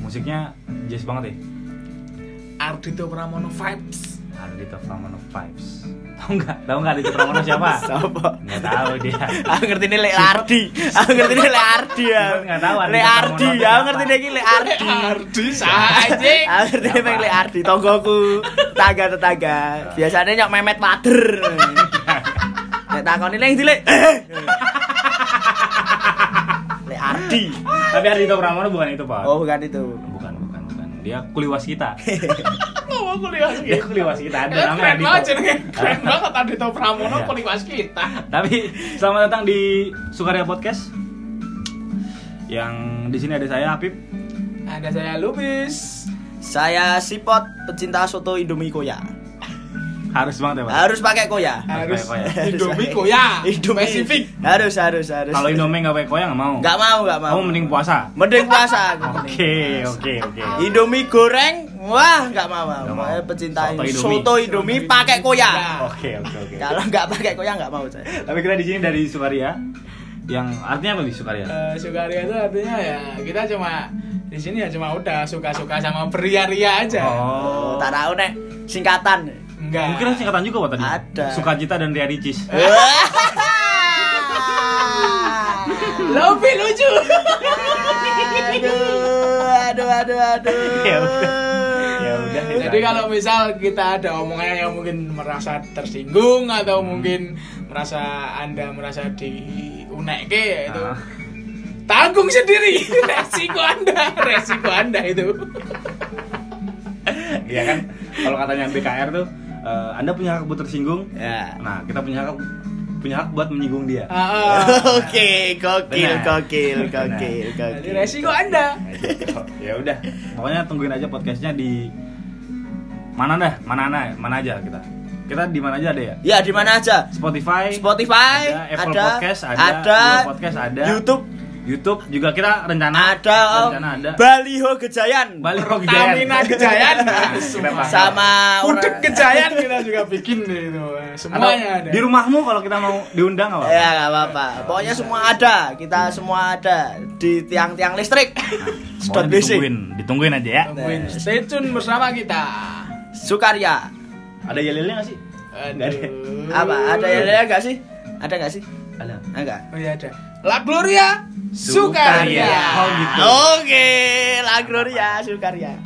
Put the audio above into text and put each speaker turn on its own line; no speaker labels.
musiknya jazz banget ya
Ardhito Pramono vibes.
Ardhito Pramono Vibes tau nggak tau nggak Ardhito Pramono siapa
Siapa?
nggak tahu dia
Aku ngerti ini Lek Ardi. Aku ngerti ini Lek Ardi ya.
Gua nggak tahu Ardhito
Lek Ardi.
Pramono
Ya
apa.
aku ngerti ini Lek Ardi.
Ardi saja.
Aku ngerti ini Lek Ardi. Tonggoku, tetangga tetangga. Biasanya nyok memet wader. Lek takon ini yang dilek. Eh. Lek Ardi.
tapi Ardhito Pramono bukan itu pak
Oh bukan itu.
bukan bukan bukan dia kuliwas kita
Mau kuliah lagi.
dia kuliwas kita ada
Keren
namanya
banget
Ardhito
jenenge. Keren banget Ardhito Pramono
Iya.
kuliah kita.
Tapi selamat datang di Sukarya Podcast. Yang di sini ada saya Apip.
Ada saya Lubis.
Saya Sipot pecinta soto Indomie Koya.
Harus banget ya, Pak.
Harus pakai Koya.
Harus
Apa ya, apa
ya?
Indomie koya.
Indomie.
Spesifik.
Harus harus harus.
Kalau Indomie nggak pakai koya nggak mau.
Gak mau, gak mau.
Kamu mending puasa. Oh,
Mending puasa. aku mending
Oke,
puasa.
oke, oke.
Indomie goreng, wah gak mau.
Nggak
Gak
mau.
mau. Pecinta
Soto
Indomie.
Indomie.
soto Indomie pakai koya.
Oke, oke, oke.
Kalau nggak pakai koya nggak mau saya.
Tapi kita di sini dari Sukarya. Yang artinya apa di Sukarya?
Eh, Sukaria itu artinya ya kita cuma di sini ya cuma udah suka-suka sama beria-ria aja.
Oh.
Tak tahu nek singkatan.
Enggak.
Mungkin ada singkatan juga Pak tadi.
Ada.
Sukacita dan Ria Ricis.
Lebih lucu.
aduh, aduh, aduh, aduh.
Ya udah. Ya udah, ya
Jadi kalau misal kita ada omongan yang mungkin merasa tersinggung
Hmm.
atau mungkin merasa anda merasa diunekke ya itu
Ah.
tanggung sendiri resiko anda resiko anda itu
Iya kan? Kalau katanya BKR tuh eh, Anda punya hak buat tersinggung.
Ya.
Nah, kita punya hak punya hak buat menyinggung dia.
Ah, ah.
Oke, gokil,
Benar.
gokil,
Benar.
gokil,
jadi
gokil.
resiko anda
ya udah pokoknya tungguin aja podcastnya di mana dah mana mana mana aja kita kita di mana aja ada ya
Ya di mana aja?
Spotify
Spotify,
ada Apple
ada-
Podcast ada,
ada,
Google Podcast ada
YouTube
YouTube juga kita rencana
ada, Om.
rencana ada
Baliho Gejayan
Balik ke
Pertamina Gejayan
sama
Gudeg
orang
Gejayan kita juga bikin deh itu semuanya ada
di rumahmu kalau kita mau diundang apa
Ya nggak apa-apa. Pokoknya semua ada, kita semua ada di tiang-tiang listrik. Sedot
Pokoknya
basic.
ditungguin ditungguin aja ya
Tungguin. stay tune bersama kita
Sukarya.
ada yelilnya nggak sih Nggak ada.
Aduh.
Apa? Ada yang ada nggak sih? Ada nggak sih?
ada
Enggak.
Oh iya ada. La Gloria Sukaria.
Ya.
Sukaria. Oh, Iya. gitu.
Oke, La Gloria Sukarya.